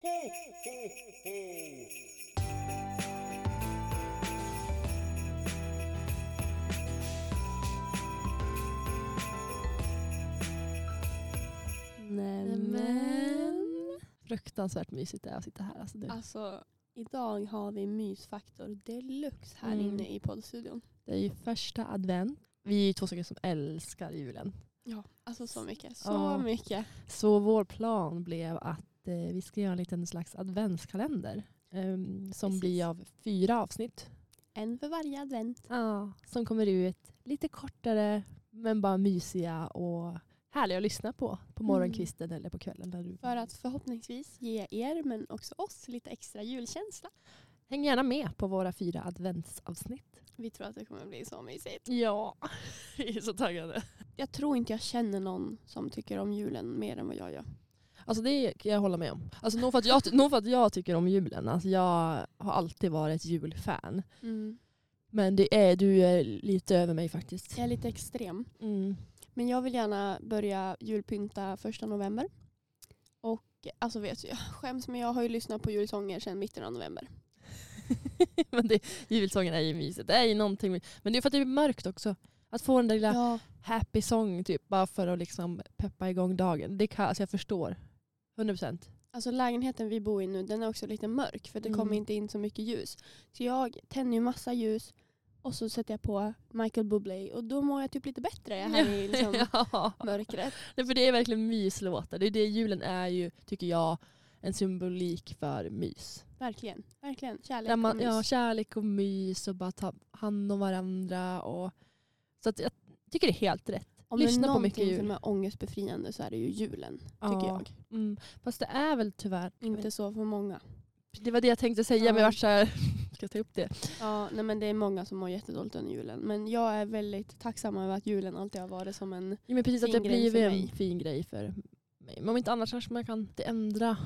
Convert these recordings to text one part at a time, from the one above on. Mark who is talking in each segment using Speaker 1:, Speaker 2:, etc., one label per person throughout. Speaker 1: Hej, hej, hej!
Speaker 2: Nämen.
Speaker 3: Fruktansvärt mysigt det är att sitta här. Alltså, det,
Speaker 2: Alltså, idag har vi mysfaktor deluxe här
Speaker 3: Mm.
Speaker 2: inne i poddstudion.
Speaker 3: det är ju första advent. Vi är ju två stycken som älskar julen.
Speaker 2: Ja, alltså så mycket. Så
Speaker 3: Ja.
Speaker 2: mycket.
Speaker 3: Så vår plan blev att eh, vi ska göra en liten slags adventskalender. ehm, som
Speaker 2: Precis.
Speaker 3: blir av fyra avsnitt.
Speaker 2: En för varje advent.
Speaker 3: Som kommer ut lite kortare men bara mysiga och härliga att lyssna på. På
Speaker 2: Mm.
Speaker 3: morgonkvisten eller på kvällen. När du...
Speaker 2: För att förhoppningsvis ge er, men också oss, lite extra julkänsla.
Speaker 3: Häng gärna med på våra fyra adventsavsnitt.
Speaker 2: Vi tror att det kommer bli så mysigt.
Speaker 3: Ja, vi är så taggade.
Speaker 2: Jag tror inte jag känner någon som tycker om julen mer än vad jag gör.
Speaker 3: Alltså det kan jag hålla med om. Alltså nog, för att jag, nog för att jag tycker om julen. Alltså jag har alltid varit julfan.
Speaker 2: Mm.
Speaker 3: Men det är, du är lite över mig faktiskt.
Speaker 2: Jag är lite extrem.
Speaker 3: Mm.
Speaker 2: Men jag vill gärna börja julpynta första november. Och alltså vet du, jag skäms men jag har ju lyssnat på julsånger sedan mitten av november.
Speaker 3: Men det, julsången är ju mysigt. Det är ju någonting. med- Men det är för att det är mörkt också. Att få den där lilla
Speaker 2: Ja.
Speaker 3: happy song typ bara för att liksom peppa igång dagen. Det kan, alltså jag förstår. 100 procent.
Speaker 2: Alltså lägenheten vi bor i nu den är också lite mörk för det
Speaker 3: Mm.
Speaker 2: kommer inte in så mycket ljus. Så jag tänder ju massa ljus och så sätter jag på Michael Bublé och då mår jag typ lite bättre här i liksom
Speaker 3: ja.
Speaker 2: mörkret.
Speaker 3: Nej, för det är verkligen myslåtar. Det är det julen är ju, tycker jag, en symbolik för mys.
Speaker 2: Verkligen, verkligen. Kärlek
Speaker 3: Där man,
Speaker 2: och mys.
Speaker 3: ja, kärlek och mys och bara ta hand om varandra. Och, så att jag tycker det är helt rätt.
Speaker 2: Om
Speaker 3: lyssna
Speaker 2: det är
Speaker 3: på mycket
Speaker 2: någonting
Speaker 3: jul.
Speaker 2: som är ångestbefriande så är det ju julen.
Speaker 3: Ja.
Speaker 2: Tycker jag.
Speaker 3: Mm. Fast det är väl tyvärr...
Speaker 2: Inte så för många.
Speaker 3: Det var det jag tänkte säga men jag vart såhär, ska jag ta upp det?
Speaker 2: Ja, nej men det är många som mår jättedåligt under julen. Men jag är väldigt tacksam över att julen alltid har varit som en...
Speaker 3: Ja, men precis att
Speaker 2: Fin
Speaker 3: det
Speaker 2: grej
Speaker 3: blir
Speaker 2: för
Speaker 3: en
Speaker 2: mig.
Speaker 3: fin grej för mig. Men om inte annars kanske man kan ändra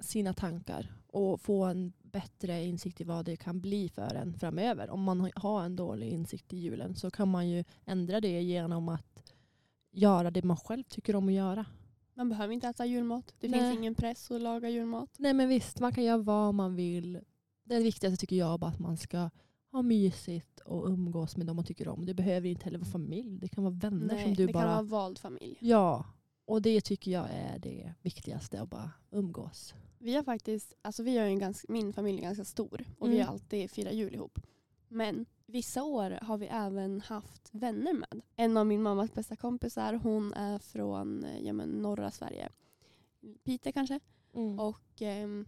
Speaker 3: sina tankar och få en bättre insikt i vad det kan bli för en framöver. Om man har en dålig insikt i julen så kan man ju ändra det genom att göra det man själv tycker om att göra.
Speaker 2: Man behöver inte äta julmat. Det
Speaker 3: Nej.
Speaker 2: finns ingen press att laga julmat.
Speaker 3: Nej men visst, man kan göra vad man vill. Det viktigaste tycker jag bara att man ska ha mysigt och umgås med dem man tycker om. Det behöver inte heller vara familj, det kan vara vänner som du
Speaker 2: det
Speaker 3: bara...
Speaker 2: kan vara vald familj.
Speaker 3: Ja, och det tycker jag är det viktigaste, att bara umgås.
Speaker 2: Vi har faktiskt, alltså vi har ju en ganska, min familj är ganska stor och vi
Speaker 3: Mm.
Speaker 2: har alltid firat jul ihop. Men vissa år har vi även haft vänner med. En av min mammas bästa kompisar, hon är från eh, ja, men, norra Sverige. Piteå kanske.
Speaker 3: Och,
Speaker 2: Och ehm,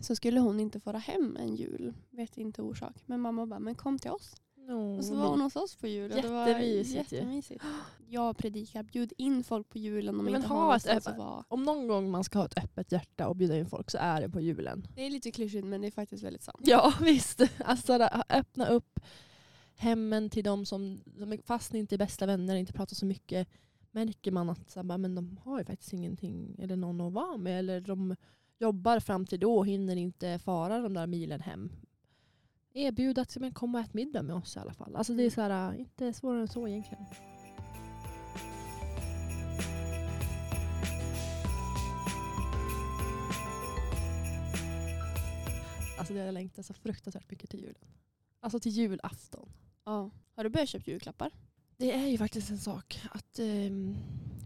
Speaker 2: så skulle hon inte fara hem en jul, vet inte orsak. Men mamma bara, men kom till oss. Och
Speaker 3: Mm.
Speaker 2: så var hon hos oss på jul och det var
Speaker 3: Jättemysigt ju.
Speaker 2: jättemysigt. Jag predikar, bjud in folk på julen om
Speaker 3: Ja, men
Speaker 2: inte
Speaker 3: ha
Speaker 2: har
Speaker 3: ett
Speaker 2: någonstans
Speaker 3: öppet-
Speaker 2: att vara.
Speaker 3: Om någon gång man ska ha ett öppet hjärta och bjuda in folk så är det på julen.
Speaker 2: Det är lite klyschigt men det är faktiskt väldigt sant.
Speaker 3: Ja visst, alltså där- öppna upp hemmen till de som, som är- fast ni inte är bästa vänner, inte pratar så mycket, märker man att så här, bara, men de har ju faktiskt ingenting eller någon att vara med eller de jobbar fram till då och hinner inte fara de där milen hem. Erbjud att men, komma och ät middag med oss i alla fall. Alltså det är så här, äh, inte svårare än så egentligen. Alltså det har jag längtat så fruktansvärt mycket till julen. Alltså till julafton.
Speaker 2: Ja. Har du börjat köpa julklappar?
Speaker 3: Det är ju faktiskt en sak att ehm,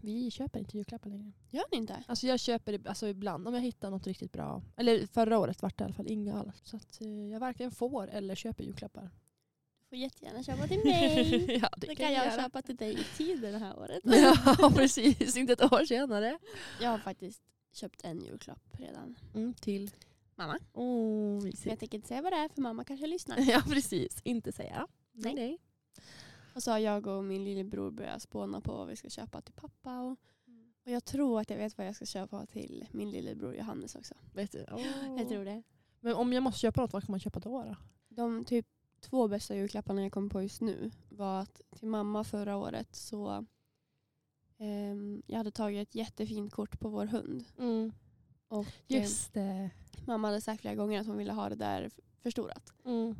Speaker 3: vi köper inte julklappar längre.
Speaker 2: Gör ni inte?
Speaker 3: Alltså jag köper ib- alltså ibland om jag hittar något riktigt bra. Eller förra året vart det i alla fall inga alls. Så att eh, jag varken får eller köper julklappar.
Speaker 2: Du får jättegärna köpa till mig.
Speaker 3: ja,
Speaker 2: Då kan jag köpa till dig i tid det här året.
Speaker 3: ja precis, inte ett år senare.
Speaker 2: Jag har faktiskt köpt en julklapp redan.
Speaker 3: Mm, till.
Speaker 2: Mamma.
Speaker 3: Åh,
Speaker 2: Men jag
Speaker 3: mysigt.
Speaker 2: tänker inte säga vad det är för mamma kanske lyssnar.
Speaker 3: Ja precis, inte säga. Nej.
Speaker 2: Nej.
Speaker 3: nej.
Speaker 2: Och så har jag och min lillebror börjat spåna på vad vi ska köpa till pappa. Och, och jag tror att jag vet vad jag ska köpa till min lillebror Johannes också.
Speaker 3: Vet du? åh.
Speaker 2: Jag tror det.
Speaker 3: Men om jag måste köpa något, vad kan man köpa då? då?
Speaker 2: De typ två bästa julklapparna jag kom på just nu var att till mamma förra året så ehm, jag hade tagit ett jättefint kort på vår hund. Och eh,
Speaker 3: Just det.
Speaker 2: mamma hade sagt flera gånger att hon ville Mm. ha det där förstorat.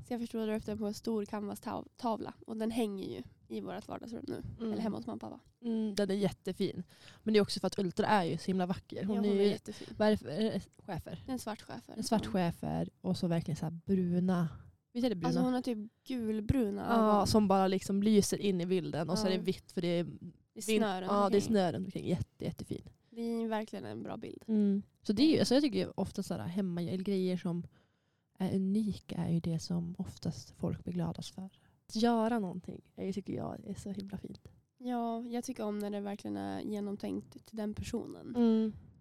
Speaker 2: Så jag förstorade upp den på en stor canvas-tavla och den hänger ju i vårt vardagsrum nu.
Speaker 3: Mm.
Speaker 2: Eller hemma hos mamma och pappa.
Speaker 3: Mm, den är jättefin. Men det är också för att Ultra är ju så himla vacker. Hon,
Speaker 2: ja,
Speaker 3: är, ju, eh,
Speaker 2: jättefin.
Speaker 3: vad är det för, är det schäfer?
Speaker 2: En svart schäfer.
Speaker 3: En svart
Speaker 2: Ja.
Speaker 3: schäfer och så verkligen så här bruna. Visst är det bruna?
Speaker 2: Alltså hon har typ gulbruna
Speaker 3: ja,
Speaker 2: ögon.
Speaker 3: som bara liksom lyser in i bilden och så är det
Speaker 2: Ja.
Speaker 3: vitt för det är,
Speaker 2: Det är
Speaker 3: vin-
Speaker 2: snören
Speaker 3: ja, det är
Speaker 2: omkring.
Speaker 3: snö runt omkring. Jätte, jättefin.
Speaker 2: Det är verkligen en bra bild.
Speaker 3: Så det är ju, alltså jag tycker ju ofta sådana hemma eller grejer som är unika är ju det som oftast folk blir gladast för. Att göra någonting är ju, tycker jag är så himla fint.
Speaker 2: Ja, jag tycker om när det verkligen är genomtänkt till den personen.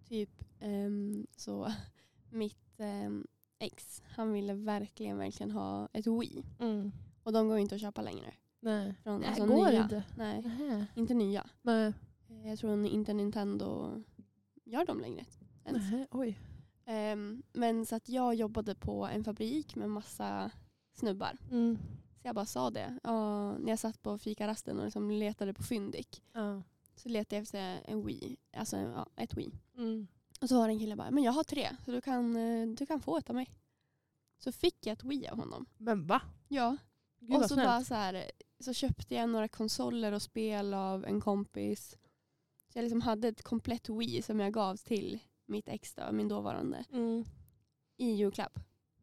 Speaker 2: Typ ehm, så mitt ehm, ex, han ville verkligen, verkligen ha ett Wii. Och de går ju inte att köpa längre.
Speaker 3: Nej.
Speaker 2: Från, alltså,
Speaker 3: Det här går
Speaker 2: nya.
Speaker 3: inte.
Speaker 2: Nej, inte nya.
Speaker 3: Nej.
Speaker 2: Eh, Jag tror inte Nintendo gör dem längre. ens.
Speaker 3: Nej. Oj.
Speaker 2: Ehm, men så att jag jobbade på en fabrik med massa snubbar. Så jag bara sa det. Ja, när jag satt på fikarasten och liksom letade på Fyndik
Speaker 3: Ja.
Speaker 2: så letade jag efter en Wii. Alltså ja, ett Wii. Och så var det en kille bara, men jag har tre så du kan, eh, du kan få ett av mig. Så fick jag ett Wii av honom.
Speaker 3: Men va?
Speaker 2: Ja.
Speaker 3: Gud
Speaker 2: och
Speaker 3: vad
Speaker 2: så
Speaker 3: snällt.
Speaker 2: bara så här, så köpte jag några konsoler och spel av en kompis. Så jag liksom hade ett komplett Wii som jag gav till mitt ex då, min dåvarande, i julklapp.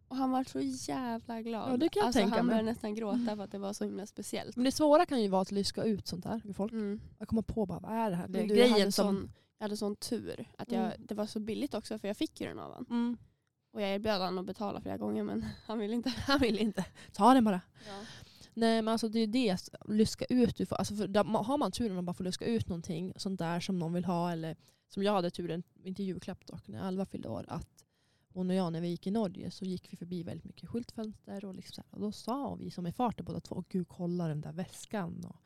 Speaker 2: Och han var så jävla glad.
Speaker 3: Ja, det kan jag
Speaker 2: alltså,
Speaker 3: tänka
Speaker 2: han
Speaker 3: mig. Mm.
Speaker 2: började nästan gråta för att det var så himla speciellt.
Speaker 3: Men det svåra kan ju vara att lyska ut sånt där med folk.
Speaker 2: Mm.
Speaker 3: Att komma på bara, vad är det här? Det är
Speaker 2: Men du, jag, hade sån, jag hade sån tur. Att jag,
Speaker 3: Mm.
Speaker 2: Det var så billigt också för jag fick ju den av honom.
Speaker 3: Mm.
Speaker 2: Och jag erbjöd honom att betala flera gånger men han ville inte.
Speaker 3: Han vill inte. Ta den bara.
Speaker 2: Ja.
Speaker 3: Nej men alltså det är ju det, att luska ut. Du får, alltså för, där, ma- har man turen att bara få luska ut någonting sånt där som någon vill ha eller som jag hade turen, inte julklapp dock, när Alva fyllde år att hon och jag när vi gick i Norge så gick vi förbi väldigt mycket skyltfönster och, liksom så här, och då sa vi som är farten båda två, "Åh, gud kolla den där väskan. Och,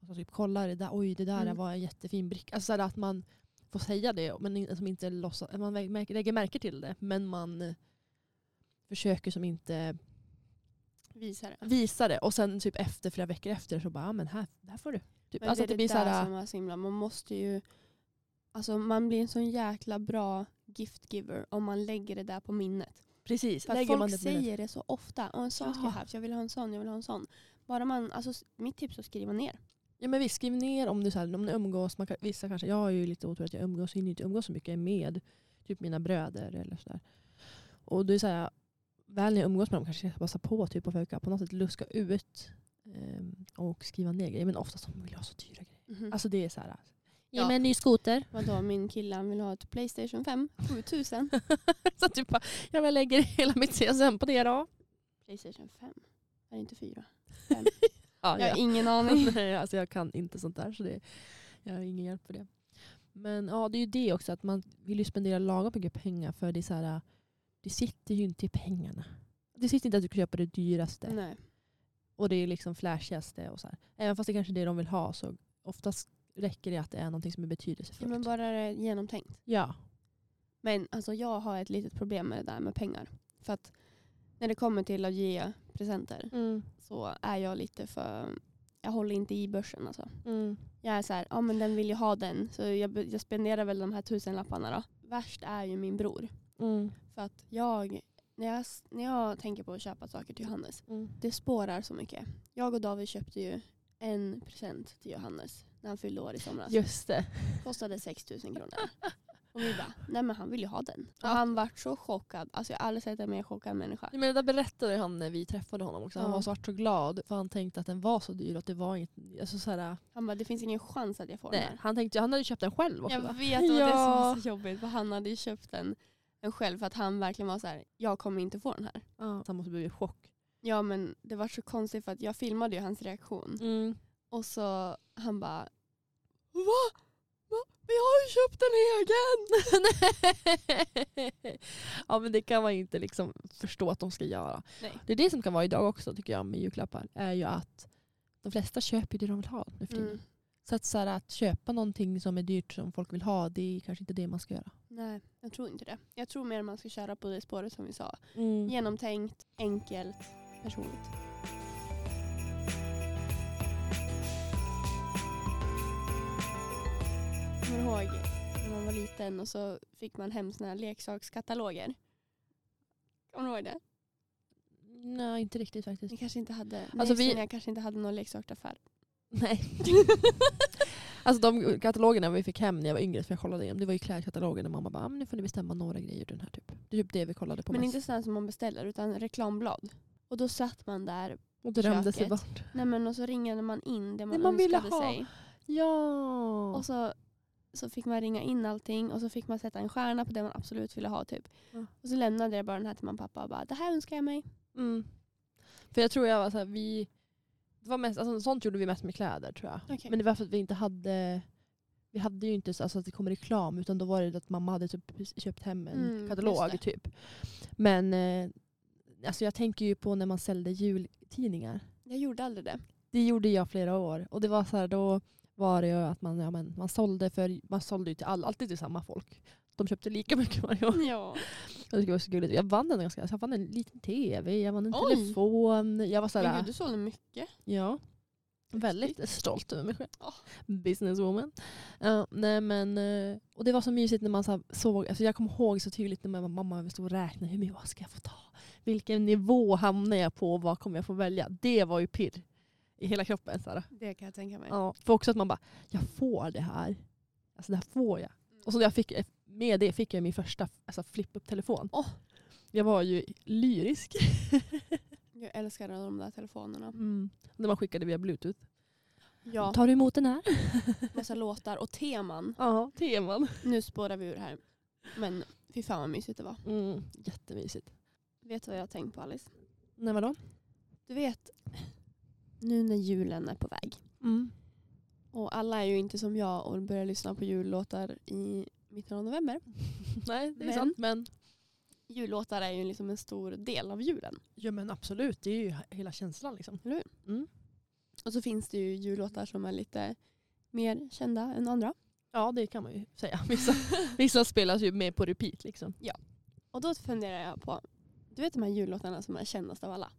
Speaker 3: och så typ kolla det där, oj det där
Speaker 2: Mm.
Speaker 3: var en jättefin bricka. Alltså så här, att man får säga det men in- som inte låtsas, man vä- märker- lägger märke till det men man eh, försöker som inte
Speaker 2: Visa det.
Speaker 3: visa det och sen typ efter flera veckor efter så bara, ja men här, här får du. Typ,
Speaker 2: Men det
Speaker 3: alltså
Speaker 2: är
Speaker 3: att det
Speaker 2: det
Speaker 3: blir
Speaker 2: där
Speaker 3: så här,
Speaker 2: som är så himla, man måste ju, alltså man blir en sån jäkla bra giftgiver om man lägger det där på minnet.
Speaker 3: precis,
Speaker 2: För att
Speaker 3: lägger man
Speaker 2: folk
Speaker 3: det på minnet.
Speaker 2: säger det så ofta, "Åh, en sån ska
Speaker 3: Ja.
Speaker 2: jag ha, jag vill ha en sån, jag vill ha en sån. Bara man, alltså s- mitt tips är att skriva ner.
Speaker 3: Ja men visst, skriv ner om du, så här, om du umgås, man kan, vissa kanske, jag har ju lite otur att jag umgås, hinner inte umgås så mycket med typ mina bröder eller sådär. Och det är så här, väl när jag umgås med dem kanske jag ska passa på typ och försöka på något sätt luska ut ehm, och skriva ner grejer. Men oftast de vill ha så dyra grejer.
Speaker 2: Mhm.
Speaker 3: Alltså det är så här,
Speaker 2: Ja.
Speaker 3: en ny skoter.
Speaker 2: Vadå, min kille han vill ha ett Playstation 5, 7000.
Speaker 3: så typ bara, ja, men jag lägger hela mitt CSN på det då.
Speaker 2: Playstation 5? Är det inte 4? Fem.
Speaker 3: Ja,
Speaker 2: Jag har ingen aning.
Speaker 3: Nej, alltså jag kan inte sånt där så det, jag har ingen hjälp för det. Men ja, det är ju det också att man vill ju spendera lagom mycket pengar för det är så här, det sitter ju inte i pengarna. Det sitter inte att du kan köpa det dyraste
Speaker 2: Nej.
Speaker 3: och det är liksom flashigaste och så här. Även fast det kanske är det de vill ha så oftast räcker det att det är någonting som är
Speaker 2: Ja,
Speaker 3: betydelsefullt.
Speaker 2: men bara det är genomtänkt.
Speaker 3: Ja.
Speaker 2: Men alltså, jag har ett litet problem med det där med pengar. För att när det kommer till att ge presenter
Speaker 3: Mm,
Speaker 2: så är jag lite för... Jag håller inte i börsen alltså.
Speaker 3: mm,
Speaker 2: Jag är så här, ja men den vill ju ha den. Så jag, be- jag spenderar väl de här tusenlapparna då. Värst är ju min bror.
Speaker 3: mm,
Speaker 2: För att jag, när jag, s- när jag tänker på att köpa saker till Johannes,
Speaker 3: mm.
Speaker 2: det spårar så mycket. Jag och David köpte ju en present till Johannes när han fyllde år i somras.
Speaker 3: Just det.
Speaker 2: Kostade 6 000 kronor. Och vi bara, nej men han vill ju ha den. Och han vart så chockad. Alltså jag har aldrig sett en mer chockad människa.
Speaker 3: Men det där berättade han när vi träffade honom också. Han
Speaker 2: Ja.
Speaker 3: var svart så glad för han tänkte att den var så dyr och att det var inget... Alltså så här,
Speaker 2: Han bara, det finns ingen chans att jag får den
Speaker 3: nej,
Speaker 2: här.
Speaker 3: han, tänkte, han hade ju köpt den själv också
Speaker 2: Jag
Speaker 3: va?
Speaker 2: vet, det var det som
Speaker 3: Ja.
Speaker 2: var så jobbigt. För han hade ju köpt den, den själv för att han verkligen var så här, jag kommer inte få den här.
Speaker 3: Ja. Han måste bli i chock.
Speaker 2: Ja men det var så konstigt för att jag filmade ju hans reaktion.
Speaker 3: Mm.
Speaker 2: Och så han bara, va? va? Men jag har ju köpt en egen!
Speaker 3: ja men det kan man ju inte liksom förstå att de ska göra.
Speaker 2: Nej.
Speaker 3: Det är det som kan vara idag också tycker jag med julklappar. Är ju att de flesta köper ju det de vill ha nu för tiden.
Speaker 2: Mm.
Speaker 3: Så, att, så här, att köpa någonting som är dyrt som folk vill ha det är kanske inte det man ska göra.
Speaker 2: Nej, jag tror inte det. Jag tror mer man ska köra på det spåret som vi sa.
Speaker 3: Mm.
Speaker 2: Genomtänkt, enkelt, personligt. Jag kommer ihåg när man var liten och så fick man hem såna här leksakskataloger. Kommer du ihåg det?
Speaker 3: Nej inte riktigt faktiskt.
Speaker 2: Ni kanske inte hade,
Speaker 3: Alltså
Speaker 2: alltså
Speaker 3: vi-
Speaker 2: vi... jag kanske inte hade någon leksaksaffär.
Speaker 3: Nej. alltså de katalogerna vi fick hem när jag var yngre, för jag kollade igenom, det var ju klädkataloger där mamma bara, "Ah, men nu får ni bestämma några grejer den här typ. Det är typ det vi kollade på
Speaker 2: Men
Speaker 3: mest.
Speaker 2: inte sådana som man beställer utan reklamblad. Och då satt man där
Speaker 3: och drömde sig
Speaker 2: köket.
Speaker 3: bort.
Speaker 2: nej men, och så ringade man in det man,
Speaker 3: man ville
Speaker 2: önskade
Speaker 3: ha.
Speaker 2: sig.
Speaker 3: Ja.
Speaker 2: Och så, så fick man ringa in allting och så fick man sätta en stjärna på det man absolut ville ha. typ.
Speaker 3: Ja.
Speaker 2: Och så lämnade jag bara den här till mamma och pappa och bara det här önskar jag mig.
Speaker 3: Mm. För jag tror jag var såhär, vi, det var mest, alltså, sånt gjorde vi mest med kläder tror jag.
Speaker 2: Okej.
Speaker 3: Men det var för att vi inte hade, vi hade ju inte så alltså, att det kom reklam utan då var det att mamma hade typ köpt hem en
Speaker 2: Mm, just det.
Speaker 3: katalog typ. Men eh, alltså, jag tänker ju på när man sålde jultidningar.
Speaker 2: Jag gjorde aldrig det.
Speaker 3: Det gjorde jag flera år. Och det var så här, då var det ju att man, ja, men, man sålde för man sålde ju till all, alltid till samma folk. De köpte lika mycket varje år.
Speaker 2: Ja.
Speaker 3: Jag tycker det var så gulligt. Jag vann en ganska, alltså, jag vann en liten tv, jag vann en
Speaker 2: Oj.
Speaker 3: telefon. Jag var så
Speaker 2: Men
Speaker 3: här,
Speaker 2: gud du sålde mycket.
Speaker 3: ja, väldigt stolt över mig själv.
Speaker 2: Ja.
Speaker 3: Businesswoman. Ja, nej, men, eh, och det var så mysigt när man så här, såg, alltså, jag kommer ihåg så tydligt när man- mamma stod och räknade, hur mycket vad ska jag få ta? Vilken nivå hamnar jag på? Vad kommer jag få välja? Det var ju pirr i hela kroppen. Så här.
Speaker 2: Det kan jag tänka mig.
Speaker 3: Ja, för också att man bara, jag får det här. Alltså det här får jag. Och så jag fick, med det fick jag min första alltså, flip-up-telefon.
Speaker 2: Åh.
Speaker 3: Jag var ju lyrisk.
Speaker 2: Jag älskar de där telefonerna.
Speaker 3: När man skickade via bluetooth.
Speaker 2: Ja,
Speaker 3: Mm. Tar du emot den här?
Speaker 2: massa låtar och teman.
Speaker 3: Ja, teman.
Speaker 2: Nu spårar vi ur här. Men fy fan vad mysigt det var.
Speaker 3: Mm, jättemysigt.
Speaker 2: Vet du vad jag har tänkt på Alice?
Speaker 3: Nej, vadå?
Speaker 2: Du vet, nu när julen är på väg.
Speaker 3: Mm.
Speaker 2: Och alla är ju inte som jag och börjar lyssna på jullåtar i mitten av november.
Speaker 3: Nej, det är
Speaker 2: Men-
Speaker 3: sant. Men,
Speaker 2: Jullåtar är ju liksom en stor del av julen.
Speaker 3: ja, men absolut, det är ju hela känslan. Liksom.
Speaker 2: Och så finns det ju jullåtar som är lite mer kända än andra.
Speaker 3: Ja, det kan man ju säga. Vissa, vissa spelas ju med på repeat. Liksom.
Speaker 2: Och då funderar jag på, du vet de här jullåtarna som är kändast av alla?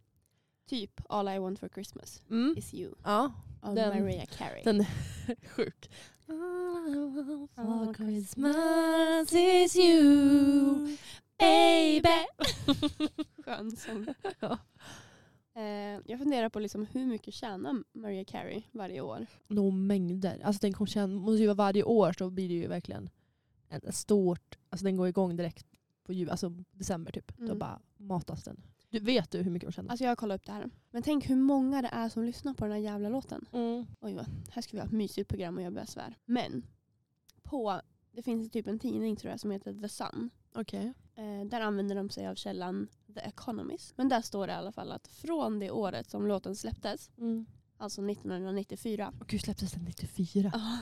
Speaker 2: Typ All I want for Christmas
Speaker 3: Mm.
Speaker 2: is you
Speaker 3: Ja,
Speaker 2: av
Speaker 3: Den-
Speaker 2: Mariah Carey.
Speaker 3: Den är sjuk.
Speaker 2: for
Speaker 3: Christmas is you,
Speaker 2: baby. Skön sång.
Speaker 3: Ja.
Speaker 2: Eh, jag funderar på liksom hur mycket tjänar Mariah Carey varje år?
Speaker 3: Nog mängder. Alltså den kommer tjäna, måste ju vara varje år så blir det ju verkligen en en stort, alltså den går igång direkt på jul, alltså december typ. Då
Speaker 2: Mm.
Speaker 3: bara matas den. Du, vet du hur mycket de tjänar?
Speaker 2: Alltså jag kollar upp det här. Men tänk hur många det är som lyssnar på den här jävla låten.
Speaker 3: Mm.
Speaker 2: Oj, vad, här ska vi ha ett mysigt program och jag börjar svär. Men på, det finns typ en tidning tror jag som heter The Sun.
Speaker 3: Okej.
Speaker 2: Eh, där använder de sig av källan The Economist. Men där står det i alla fall att från det året som låten släpptes,
Speaker 3: Mm.
Speaker 2: alltså 1994.
Speaker 3: Och gud släpptes den 94?
Speaker 2: Ja,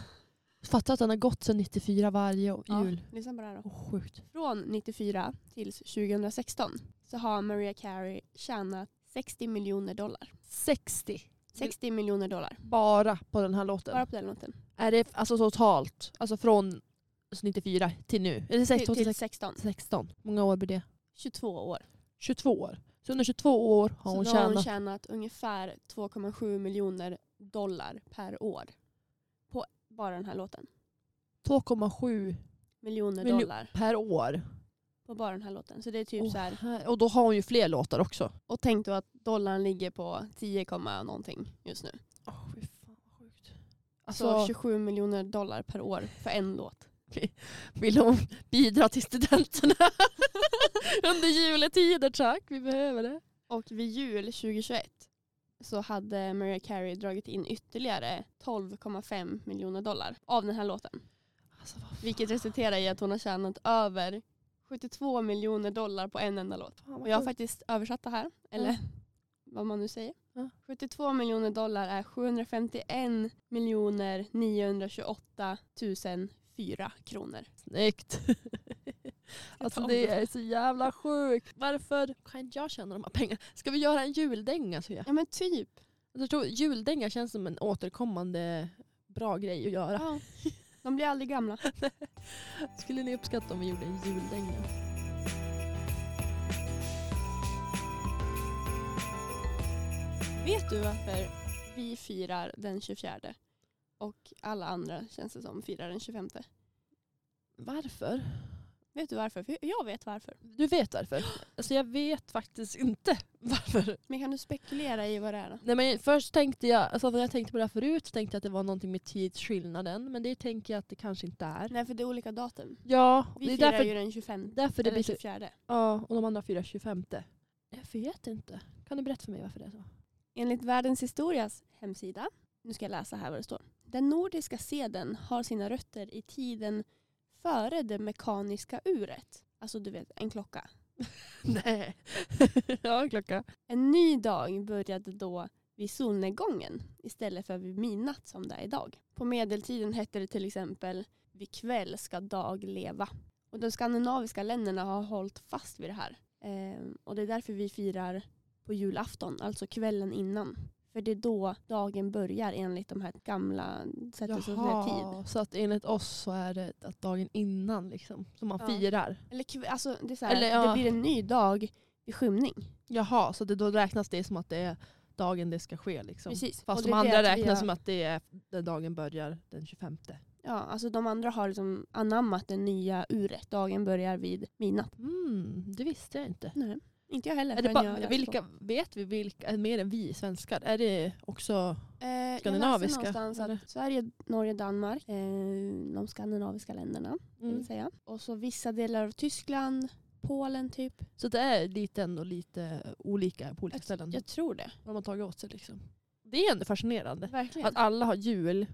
Speaker 3: Fatta att den har gått sedan 94 varje å-
Speaker 2: ja,
Speaker 3: jul.
Speaker 2: lyssna på det här då.
Speaker 3: Åh, sjukt.
Speaker 2: Från 94 till 2016 så har Mariah Carey tjänat 60 miljoner dollar.
Speaker 3: 60
Speaker 2: 60 miljoner dollar.
Speaker 3: bara på den här låten.
Speaker 2: Bara på den låten.
Speaker 3: Är det alltså totalt, alltså från 94 till nu? Eller 16
Speaker 2: Till,
Speaker 3: till
Speaker 2: till 16.
Speaker 3: 16? Många år blir det?
Speaker 2: 22 år.
Speaker 3: 22 år. Så under 22 år har
Speaker 2: så
Speaker 3: hon
Speaker 2: då har hon
Speaker 3: tjänat...
Speaker 2: tjänat ungefär 2,7 miljoner dollar per år. På bara den här låten.
Speaker 3: 2,7
Speaker 2: Miljoner
Speaker 3: Miljo-
Speaker 2: dollar
Speaker 3: per år.
Speaker 2: på bara den här låten. Så det är typ
Speaker 3: Åh,
Speaker 2: så här.
Speaker 3: här- Och då har hon ju fler låtar också.
Speaker 2: Och tänk då att dollarn ligger på 10, komma någonting just nu.
Speaker 3: Oh, fy fan vad sjukt.
Speaker 2: Så
Speaker 3: Alltså,
Speaker 2: 27 miljoner dollar per år för en låt.
Speaker 3: vill hon bidra till studenterna under juletider tack? Vi behöver det.
Speaker 2: Och vid jul 2021 så hade Mariah Carey dragit in ytterligare 12,5 miljoner dollar av den här låten.
Speaker 3: Alltså, vad fan,
Speaker 2: Vilket resulterar i att hon har tjänat över 72 miljoner dollar på en enda låt.
Speaker 3: fan vad
Speaker 2: Och jag har
Speaker 3: sjukt.
Speaker 2: faktiskt översatt det här, eller
Speaker 3: Ja.
Speaker 2: vad man nu säger.
Speaker 3: Ja.
Speaker 2: 72 miljoner dollar är 751 miljoner 928 004 kronor.
Speaker 3: Snyggt. Alltså det är så jävla sjukt. Varför kan inte jag tjäna de här pengarna? Ska vi göra en juldänga Svea?
Speaker 2: Ja men typ.
Speaker 3: Jag tror juldänga känns som en återkommande bra grej att göra.
Speaker 2: Ja. De blir aldrig gamla.
Speaker 3: Skulle ni uppskatta om vi gjorde en juldänga?
Speaker 2: Vet du varför vi firar den 24 och alla andra känns det som firar den 25?
Speaker 3: Varför?
Speaker 2: Vet du varför? För jag vet varför.
Speaker 3: Du vet varför? Alltså jag vet faktiskt inte varför.
Speaker 2: Men kan du spekulera i vad det är då?
Speaker 3: Nej, men först tänkte jag, alltså när jag tänkte på det här förut tänkte jag att det var någonting med tidsskillnaden. Men det tänker jag att det kanske inte är.
Speaker 2: Nej, för det är olika datum.
Speaker 3: Ja, och
Speaker 2: Vi
Speaker 3: det är
Speaker 2: firar
Speaker 3: därför,
Speaker 2: ju den 25
Speaker 3: därför det
Speaker 2: eller
Speaker 3: blir så
Speaker 2: 24.
Speaker 3: Ja, och de andra firar 25. Jag vet inte. Kan du berätta för mig varför det är så?
Speaker 2: Enligt Världens historias hemsida, nu ska jag läsa här vad det står. Den nordiska seden har sina rötter i tiden före det mekaniska uret. Alltså du vet, en klocka.
Speaker 3: Nej. ja, en klocka.
Speaker 2: En ny dag började då vid solnedgången istället för vid midnatt som det är idag. På medeltiden hette det till exempel vid kväll ska dag leva. Och de skandinaviska länderna har hållit fast vid det här. Ehm, och det är därför vi firar på julafton, alltså kvällen innan. För det är då dagen börjar enligt de här gamla sättet som säger tid.
Speaker 3: Jaha, så att enligt oss så är det att dagen innan liksom, som man
Speaker 2: Ja.
Speaker 3: firar.
Speaker 2: Eller, kv- alltså, det, är så här,
Speaker 3: Eller, ja.
Speaker 2: det blir en ny dag vid skymning.
Speaker 3: Jaha, så det, då räknas det som att det är dagen det ska ske liksom.
Speaker 2: Precis.
Speaker 3: Fast
Speaker 2: Och
Speaker 3: de
Speaker 2: det är
Speaker 3: andra
Speaker 2: det att vi
Speaker 3: räknas
Speaker 2: har-
Speaker 3: som att det är den dagen börjar den 25.
Speaker 2: Ja, alltså de andra har liksom anammat det nya uret. Dagen börjar vid midnatt.
Speaker 3: Mm, det visste jag inte.
Speaker 2: Nej, inte jag heller.
Speaker 3: Är det
Speaker 2: förrän jag
Speaker 3: bara,
Speaker 2: läste
Speaker 3: vilka, vet vi vilka, mer än vi svenskar? Är det också...
Speaker 2: på. Eh,
Speaker 3: skandinaviska,
Speaker 2: Jag läste någonstans
Speaker 3: eller?
Speaker 2: att Sverige, Norge, Danmark, eh, de skandinaviska länderna,
Speaker 3: Mm.
Speaker 2: det vill säga. Och så vissa delar av Tyskland, Polen typ.
Speaker 3: Så det är lite ändå lite olika på olika ställen.
Speaker 2: Jag tror det.
Speaker 3: Vad de har tagit åt sig liksom. Det är ändå fascinerande.
Speaker 2: Verkligen.
Speaker 3: Att alla har jul,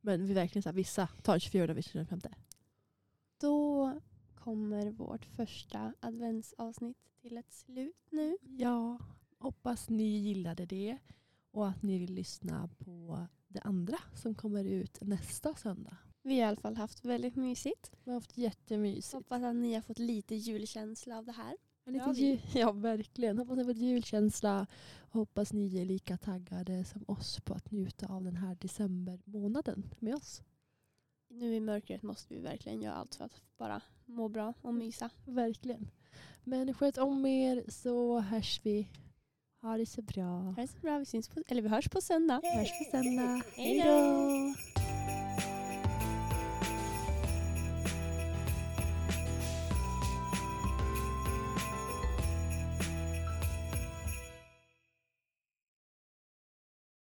Speaker 3: men vi verkligen så här, vissa tar den 24 och vissa den 25.
Speaker 2: Då kommer vårt första adventsavsnitt till ett slut nu.
Speaker 3: Ja, hoppas ni gillade det och att ni vill lyssna på det andra som kommer ut nästa söndag.
Speaker 2: Vi har i alla fall haft väldigt mysigt.
Speaker 3: Vi har haft jättemysigt.
Speaker 2: Hoppas att ni har fått lite julkänsla av det här.
Speaker 3: Lite
Speaker 2: Ja, vi-
Speaker 3: jul, ja, verkligen. Hoppas ni har fått julkänsla. Hoppas ni är lika taggade som oss på att njuta av den här decembermånaden med oss.
Speaker 2: Nu i mörkret måste vi verkligen göra allt för att bara må bra och mysa.
Speaker 3: Verkligen. Men sköt om er så hörs vi. Ha det så bra.
Speaker 2: Ha det så bra. Vi, syns på, eller vi hörs på söndag.
Speaker 3: Hörs på söndag.
Speaker 2: Hej då!